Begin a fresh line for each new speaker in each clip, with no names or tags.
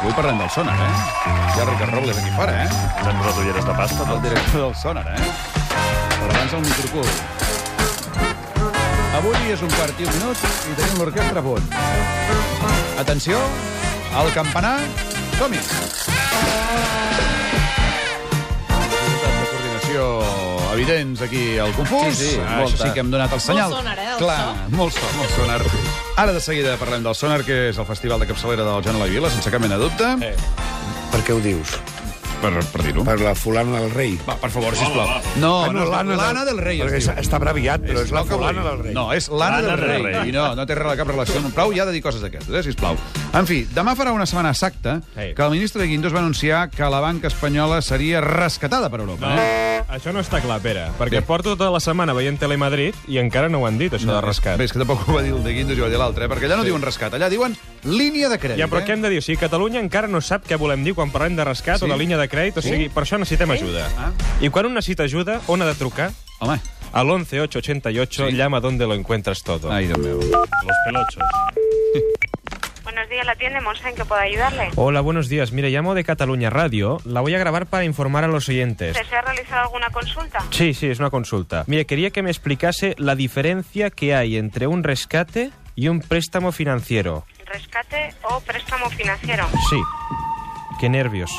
Avui parlem del Sónar, eh? Hi ha Ricard Robles aquí fora, eh?
S'han posat ulleres de pasta,
El
tot.
director del Sónar, eh? Però abans el microcul. Avui és un quart i un minut i tenim l'orquestra a punt. Atenció, al campanar, som-hi! Dificultats de coordinació evidents aquí al Confús. Ah,
Sí, sí,
Això
molta.
sí que hem donat el senyal.
sonar, eh, el
Clar,
so.
molt so, molt sonar. Ara de seguida parlem del sonar, que és el festival de capçalera del Joan a la Vila, sense cap mena de dubte. Eh.
Per què ho dius?
Per, per dir-ho.
Per la fulana del rei.
Va, per favor, sisplau. No, no, és l'Anna l'Anna del Rei.
Perquè
es diu.
està- està abreviat, però és, la
el que
fulana
vull.
del rei.
No, és l'Anna
L'Anna
del
del
Rei.
Rei.
I no, no té res, cap relació. No, prou ja de dir coses d'aquestes, eh, sisplau. En fi, demà farà una setmana exacta
Ei.
que el ministre Guindós va anunciar que la banca espanyola seria rescatada per Europa. Eh?
Ah, Això no està clar, Pere, perquè
Bé.
porto tota la setmana veient Telemadrid i encara no ho han dit, això de rescat.
Bé, és que tampoc ho va dir el de Guindós i ho va dir l'altre, eh? perquè allà no diuen rescat, allà diuen línia de crèdit.
Ja, però què
eh?
hem de dir? O sigui, Catalunya encara no sap què volem dir quan parlem de rescat
Sí.
o de línia de crèdit, o sigui, per això necessitem ajuda.
Ah.
I quan un necessita ajuda, on ha de trucar?
Home,
Al 11888,
Sí.
llama donde lo encuentras todo.
ai, Déu meu.
Los pelochos.
Buenos días, la tienda Monsa, ¿en qué puedo ayudarle?
Hola, buenos días. Mire, llamo de Cataluña Radio. La voy a grabar para informar a los oyentes.
¿Desea realizar alguna consulta?
Sí, sí, es una consulta. Mire, quería que me explicase la diferencia que hay entre un rescate y un préstamo financiero.
¿Rescate o préstamo financiero?
Sí. Qué nervios.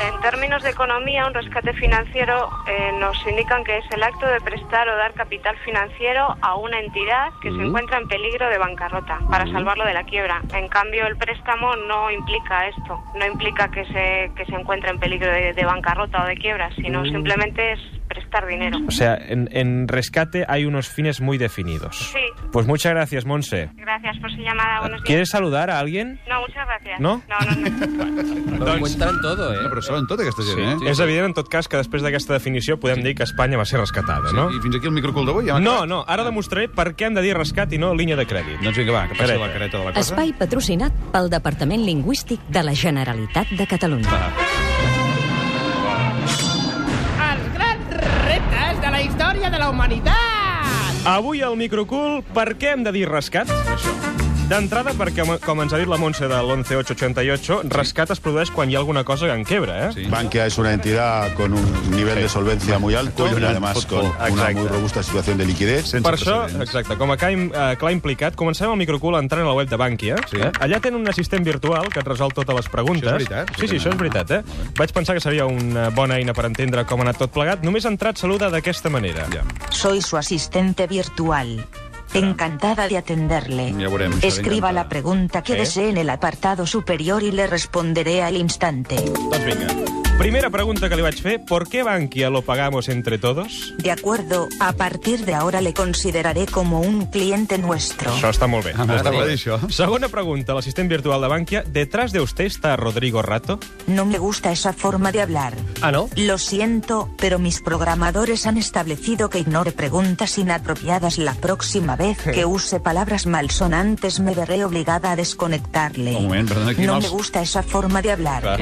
En términos de economía, un rescate financiero eh, nos indican que es el acto de prestar o dar capital financiero a una entidad que se encuentra en peligro de bancarrota para salvarlo de la quiebra. En cambio, el préstamo no implica esto, no implica que se, que se encuentre en peligro de, de bancarrota o de quiebra,
Mm.
sino simplemente es prestar dinero.
O sea, en, en rescate hay unos fines muy definidos.
Sí.
Pues muchas gracias, Monse.
Gracias por su llamada. Buenos días.
¿Quieres saludar a alguien?
No, muchas gracias.
¿No?
No, no, no.
Lo cuentan todo,
No, però saben tota aquesta gent, eh?
És evident, en tot cas, que després d'aquesta definició podem dir que Espanya va ser rescatada, no?
I fins aquí el microcul d'avui? Ja m'ha
No,
acabat?
no, ara demostraré per què han de dir rescat i no línia de crèdit.
Doncs vinga, va, que passi
Careta.
la careta de la cosa.
Espai patrocinat pel Departament Lingüístic de la Generalitat de Catalunya.
els grans reptes de la història de la humanitat.
Avui al Microcool, per què hem de dir rescat? D'entrada, perquè, com ens ha dit la Montse de l'11888, rescat es produeix quan hi ha alguna cosa que en quebra, eh?
Sí.
Bankia es una entidad con un nivel de solvencia muy alto y
Colón,
además con
fútbol.
una
Exacto.
muy robusta situación de liquidez.
Sense
Per això,
precedents.
exacte, com a clar, eh, clar implicat, comencem el microcool entrant a la web de Bànquia.
Sí.
Eh? Allà tenen un assistent virtual que et resol totes les preguntes.
Això és veritat?
Sí, sí, això és veritat, eh? Vaig pensar que seria una bona eina per entendre com ha anat tot plegat. Només ha entrat saluda d'aquesta manera.
Ja.
Soy su asistente virtual. Encantada de atenderle.
Ya veremos, estaré
Escriba
encantada.
la pregunta que
¿Eh?
desee en el apartado superior y le responderé al instante.
Doncs vinga. Primera pregunta que li vaig fer, ¿por qué Bankia lo pagamos entre todos?
De acuerdo, a partir de ahora le consideraré como un cliente nuestro.
Això està molt bé.
Ah, m'està bé, això.
Segona pregunta, l'assistent virtual de Bankia, ¿detrás de usted está Rodrigo Rato?
No me gusta esa forma de hablar.
Ah, no?
Lo siento, pero mis programadores han establecido que ignore preguntas inapropiadas la próxima vez que use palabras malsonantes. Me veré obligada a desconectarle.
Un moment, perdona, aquí
no
mals-
me gusta esa forma de hablar.
Ah,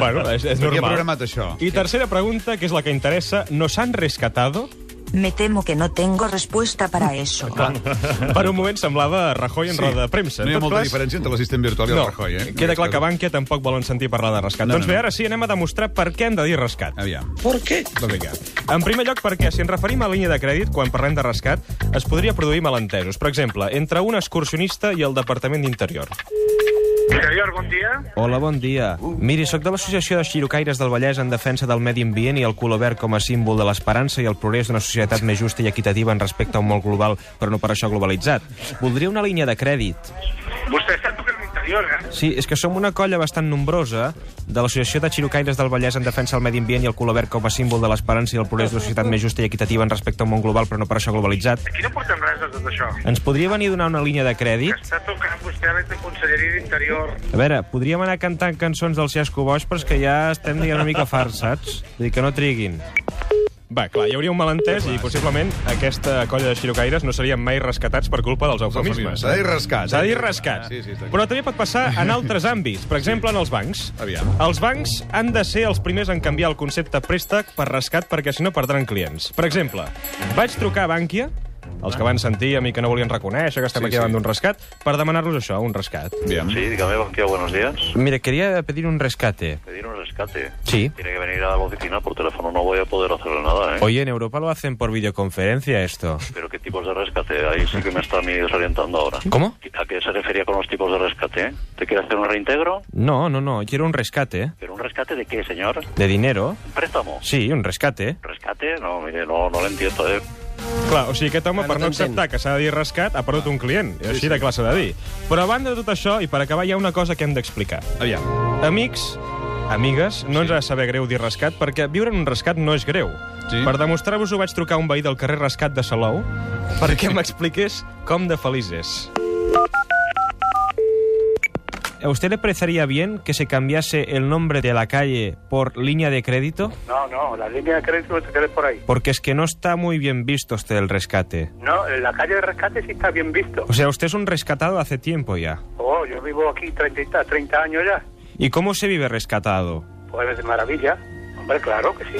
bueno, és, és
Qui ha programat
normal.
això?
I tercera pregunta, que és la que interessa, ¿nos han rescatado?
Me temo que no tengo respuesta para eso.
Per un moment semblava Rajoy en sí. roda de premsa.
No hi
En
ha
tot
molta
cas,
diferència entre l'assistent virtual i el
No,
Rajoy, eh?
queda clar que Bankia tampoc volen sentir parlar de rescat.
No,
No, doncs
no,
bé,
no.
ara sí, anem a demostrar per què hem de dir rescat.
Aviam.
Va, Doncs vinga. En primer lloc, perquè si ens referim a línia de crèdit, quan parlem de rescat, es podria produir malentesos. Per exemple, entre un excursionista i el Departament d'Interior.
Interior, bon dia.
Hola, bon dia. Miri, sóc de l'Associació de Xirocaires del Vallès en defensa del medi ambient i el color verd com a símbol de l'esperança i el progrés d'una societat més justa i equitativa en respecte a un món global, però no per això globalitzat. Voldria una línia de crèdit.
Vostè està tocant l'interior, eh?
Sí, és que som una colla bastant nombrosa de l'Associació de Xirocaires del Vallès en defensa del medi ambient i el color verd com a símbol de l'esperança i el progrés d'una societat més justa i equitativa en respecte a un món global, però no per això globalitzat.
Aquí no portem res de tot això.
Ens podria venir a donar una línia de crèdit?
Està tocant vostè a la Conselleria d'Interior.
A veure, podríem anar cantant cançons del Xesco Boix, però és que ja estem dient una mica farts, saps? Vull dir que no triguin. Va, clar, hi hauria un malentès i possiblement aquesta colla de xirocaires no serien mai rescatats per culpa dels eufemismes. eh?
S'ha de dir rescat.
Ah,
eh?
S'ha de dir rescat.
Sí, sí, està clar.
Però també pot passar en altres àmbits, per exemple, en els bancs.
Aviam.
Els bancs han de ser els primers en canviar el concepte préstec per rescat perquè si no perdran clients. Per exemple, vaig trucar a Bànquia els que van sentir a mi que no volien reconèixer que estem
Sí,
aquí davant
sí.
d'un rescat, per demanar-los això, un rescat.
Bien.
Sí, dígame, banqueo, buenos días.
Mira, quería pedir un rescate.
Pedir un rescate.
Sí.
Tiene que venir a la oficina por teléfono, no voy a poder hacerle nada, ¿eh?
Oye, en Europa lo hacen por videoconferencia esto.
Pero qué tipos de rescate, ahí sí que me está a mí desorientando ahora.
¿Cómo?
¿A qué se refería con los tipos de rescate? eh? ¿Te quiere hacer un reintegro?
No, no, no, quiero un rescate.
¿Pero un rescate de qué, señor?
¿De dinero?
¿Un préstamo?
Sí, un rescate.
¿Rescate? No, mire, no, no lo entiendo, ¿eh?
Clar, o sigui, aquest home,
Ah, no
per no
t'entén.
acceptar que s'ha de dir rescat, ha perdut un client. Sí, així de clar s'ha de dir. Però a banda de tot això, i per acabar, hi ha una cosa que hem d'explicar.
Aviam.
Amics, amigues, no ens ha de saber greu dir rescat, perquè viure en un rescat no és greu.
Sí.
Per demostrar-vos-ho vaig trucar a un veí del carrer Rescat de Salou perquè m'expliqués com de feliç és. ¿A usted le parecería bien que se cambiase el nombre de la calle por línea de crédito?
No, no, la línea de crédito te quedes por ahí.
Porque es que no está muy bien visto usted el rescate.
No, la calle de rescate sí está bien visto.
O sea, usted es un rescatado hace tiempo ya.
Oh, yo vivo aquí 30, 30 años ya.
¿Y cómo se vive rescatado?
Pues de maravilla. Hombre, claro que sí.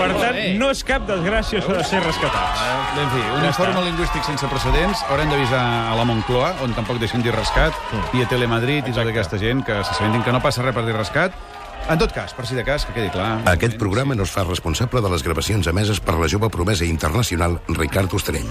Per tant, no és cap desgràcia això de ser rescatat.
En fi, un informe lingüístic sense precedents. Haurem d'avisar a la Moncloa, on tampoc deixen dir rescat,
Mm.
i a Telemadrid i tota aquesta gent que se sentin que no passa res per dir rescat. En tot cas, per si de cas, que quedi clar...
Aquest programa no es fa responsable de les gravacions emeses per la jove promesa internacional Ricard Ostrell.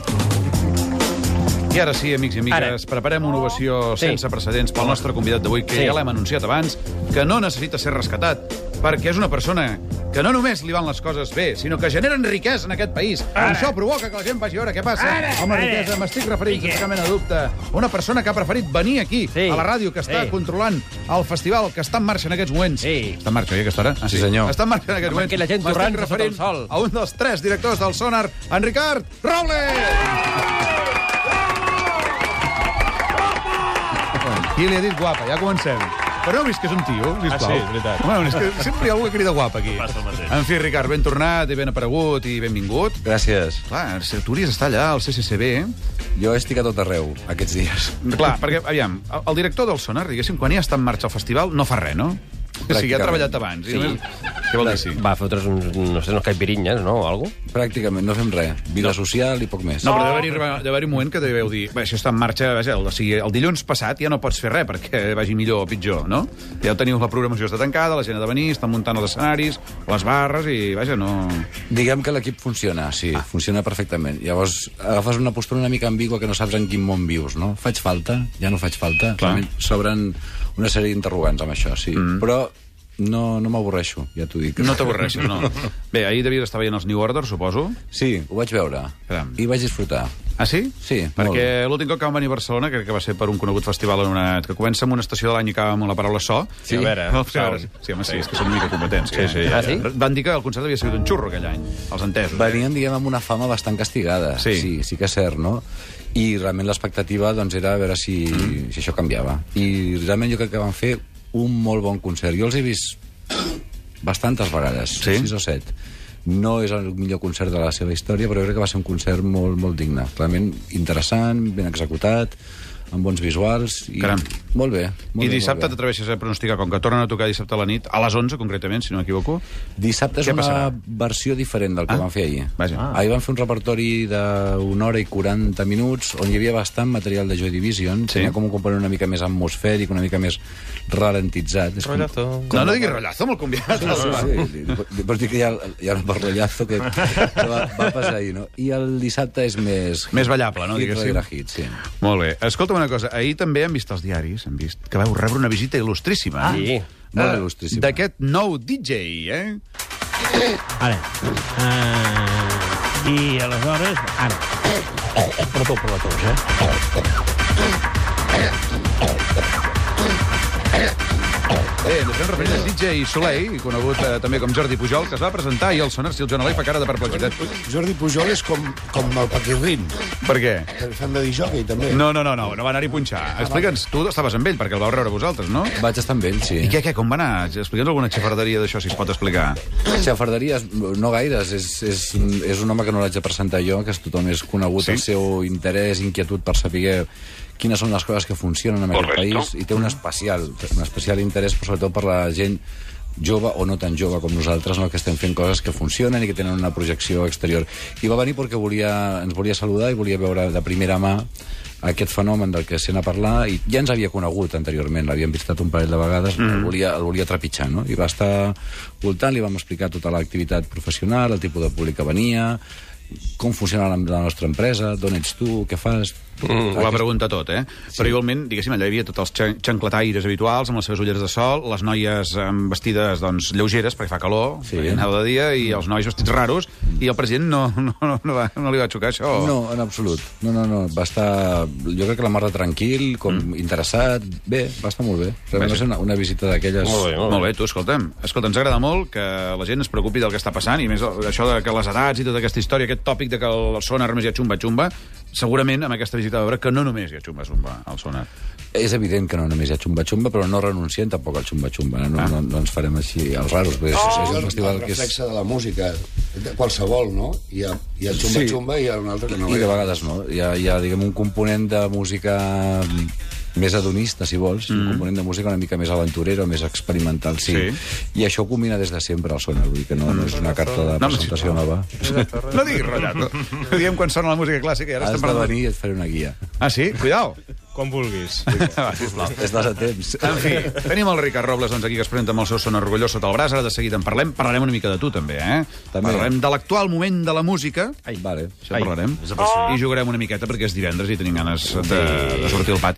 I ara sí, amics i amigues,
Ara.
preparem una ovació
Sí.
sense precedents pel nostre convidat d'avui, que
Sí.
ja l'hem anunciat abans, que no necessita ser rescatat, perquè és una persona que no només li van les coses bé, sinó que generen riquesa en aquest país. Ara. Això provoca que la gent vagi a veure què passa. Ara. Home,
Ara.
riquesa, m'estic referint sense cap mena de dubte. Una persona que ha preferit venir aquí,
Sí.
a la ràdio, que està
Sí.
controlant el festival que està en marxa en aquests moments.
Sí.
Està en marxa, oi, a aquesta hora? Ah,
Sí, senyor.
Està en marxa en aquests
Home,
moments.
que la gent
M'estic
torranta sota el
referint
sol.
a un dels tres directors del Sonar, en Ricard Robles! Qui li ha dit guapa? Ja comencem. Però no heu vist que és un tio, sisplau?
Ah, sí, és veritat.
Bueno, és que sempre hi ha algú que crida guapa aquí.
Passa el mateix.
En fi, Ricard, ben tornat i ben aparegut i benvingut.
Gràcies.
Clar, si tu hauries d'estar allà, al CCCB, eh?
Jo estic a tot arreu, aquests dies.
Clar, perquè, aviam, el- el director del Sonar, diguéssim, quan ja està en marxa el festival, no fa res, no? O sigui, ha
Pràcticament.
treballat abans. I
Sí.
només... Què vol dir, sí?
Va, fotre's uns, no sé, uns caipirinyes, no? O algo.
Pràcticament no fem res. Vida social i poc més.
No, però deu haver-hi deu haver un moment que deveu dir "Bé, això està en marxa, vaja, el, o sigui, el dilluns passat ja no pots fer res perquè vagi millor o pitjor, no? Ja teniu la programació està tancada, la gent ha de venir, estan muntant els escenaris, les barres i, vaja, no...
Diguem que l'equip funciona, sí, ah. funciona perfectament. Llavors agafes una postura una mica ambigua que no saps en quin món vius, no? Faig falta? Ja no faig falta?
Clar.
Realment S'obren una sèrie d'interrogants amb això, sí. Mm. Però no, no m'avorreixo, ja t'ho dic.
No t'avorreixes, no. Bé, ahir devies estar veient els New Order, suposo.
Sí, ho vaig veure.
Caram.
I vaig disfrutar.
Ah, sí?
Sí, molt
Perquè l'últim cop que vam venir a Barcelona, crec que va ser per un conegut festival anomenat, que comença amb una estació de l'any i acaba amb la paraula so.
Sí.
a veure.
Sound.
Sí, ara- sí, home, sí, és que són una mica competents. Sí, sí.
Ah, sí?
Van dir que el concert havia sigut un xurro aquell any, els entesos.
Venien, diguem, amb una fama bastant castigada.
Sí.
sí, sí que és cert, no? I realment l'expectativa doncs, era a veure si, mm. si això canviava. I realment jo crec que van fer un molt bon concert. Jo els he vist bastantes vegades,
Sí?
sis o set. No és el millor concert de la seva història, però jo crec que va ser un concert molt, molt digne. Realment interessant, ben executat, amb bons visuals... I...
Caram.
Molt bé.
I
Molt bé,
dissabte
molt bé.
t'atreveixes a pronosticar, com que tornen a tocar dissabte a la nit, a les 11 concretament, si no m'equivoco.
Dissabte és
Què
una
passarà?
versió diferent del que
Ah.
ah? van fer ahir.
Vaja. Ah.
Ahir van fer un repertori d'una hora i 40 minuts on hi havia bastant material de Joy Division.
Sí.
Sí. Tenia com un component una mica més atmosfèric, una mica més ralentitzat. És com...
No, no diguis rotllazo amb el convidat.
Ah, Sí, sí, sí. Pots dir que hi ha, hi ha un barrollazo que, que va, va passar ahir, no? I el dissabte és més...
Més ballable, no?
Hit,
Diguéssim.
rere hit, sí.
Molt bé. Escolta'm una cosa, ahir també han vist els diaris, han vist que vau rebre una visita il·lustríssima.
Ah, sí.
Molt
Eh,
il·lustríssima.
D'aquest nou DJ, eh?
Ara.
Eh,
Uh, I aleshores... Ara. Perdó per la tos, eh?
Eh, ens fem referint al DJ Soleil, conegut eh, també com Jordi Pujol, que es va presentar i el sonar si el Joan Eloi fa cara de perplexitat.
Jordi Pujol és com, com el Paquirrin,
Per què?
que s'han de dir jockey, també. Ah,
No, no, no, no, no va anar-hi a punxar. Explica'ns, tu estaves amb ell, perquè el vau rebre vosaltres, no?
Vaig estar amb ell, sí.
I què, què, com va anar? Explica'ns alguna xafarderia d'això, si es pot explicar.
Xafarderies, no gaires. És, és, és un home que no l'haig de presentar jo, que és tothom és conegut
Sí?
sí? el seu interès, inquietud per saber quines són les coses que funcionen en aquest
Correcte.
país i té un especial, un especial interès però sobretot per la gent jove o no tan jove com nosaltres, no? que estem fent coses que funcionen i que tenen una projecció exterior. I va venir perquè volia, ens volia saludar i volia veure de primera mà aquest fenomen del que sent a parlar i ja ens havia conegut anteriorment, l'havíem visitat un parell de vegades, mm. el, volia, el volia trepitjar, no? I va estar voltant, li vam explicar tota l'activitat professional, el tipus de públic que venia, com funciona la, la nostra empresa, d'on ets tu, què fas...
Mm, ho va
Aquest-
preguntar tot, eh? Sí. Però igualment, diguéssim, allà hi havia tots els xan- xancletaires habituals, amb les seves ulleres de sol, les noies amb vestides, doncs, lleugeres, perquè fa calor, sí. anava de dia, i els nois vestits raros, i el president no, no, no, va, no li va xocar això.
No, en absolut. No, no, no. Va estar, jo crec que la mar de tranquil, com mm. interessat. Bé, va estar molt bé. Realment
Vaja.
va ser una, una visita d'aquelles...
Molt bé, molt bé.
Molt bé, tu, escolta'm. Escolta, ens agrada molt que la gent es preocupi del que està passant, i a més això de que les edats i tota aquesta història, aquest tòpic de que el sonar només hi ha xumba-xumba, segurament amb aquesta visita veure que no només hi ha xumba-xumba al sonar.
És evident que no només hi ha xumba-xumba, però no renunciem tampoc al xumba-xumba. No, no, no ens farem així els raros. Perquè oh. és, és un festival
el
que és...
reflexe de la música, de qualsevol, no? Hi ha, hi ha xumba,
Sí.
xumba i hi ha un altre que no
I de
és.
vegades no. Hi ha, hi ha diguem, un component de música més adonista, si vols, mm. un component de música una mica més aventurera, més experimental, sí. sí. I això ho combina des de sempre el sonar, vull dir que no, no és una carta de
No,
presentació nova.
No diguis ratllato. Diem quan sona la música clàssica i ara
Has
estem
de
parlant...
venir i et faré una guia.
Ah, sí? Cuidao.
Quan vulguis.
Va, sisplau.
Estàs a temps.
En fi, tenim el Ricard Robles doncs, aquí que es presenta amb el seu son orgullós sota el braç, ara de seguida en parlem. Parlarem una mica de tu, també, eh?
També.
Parlarem de l'actual moment de la música.
Ai. Vale.
Això parlarem. I jugarem una miqueta perquè és divendres i tenim ganes de, de sortir al pati.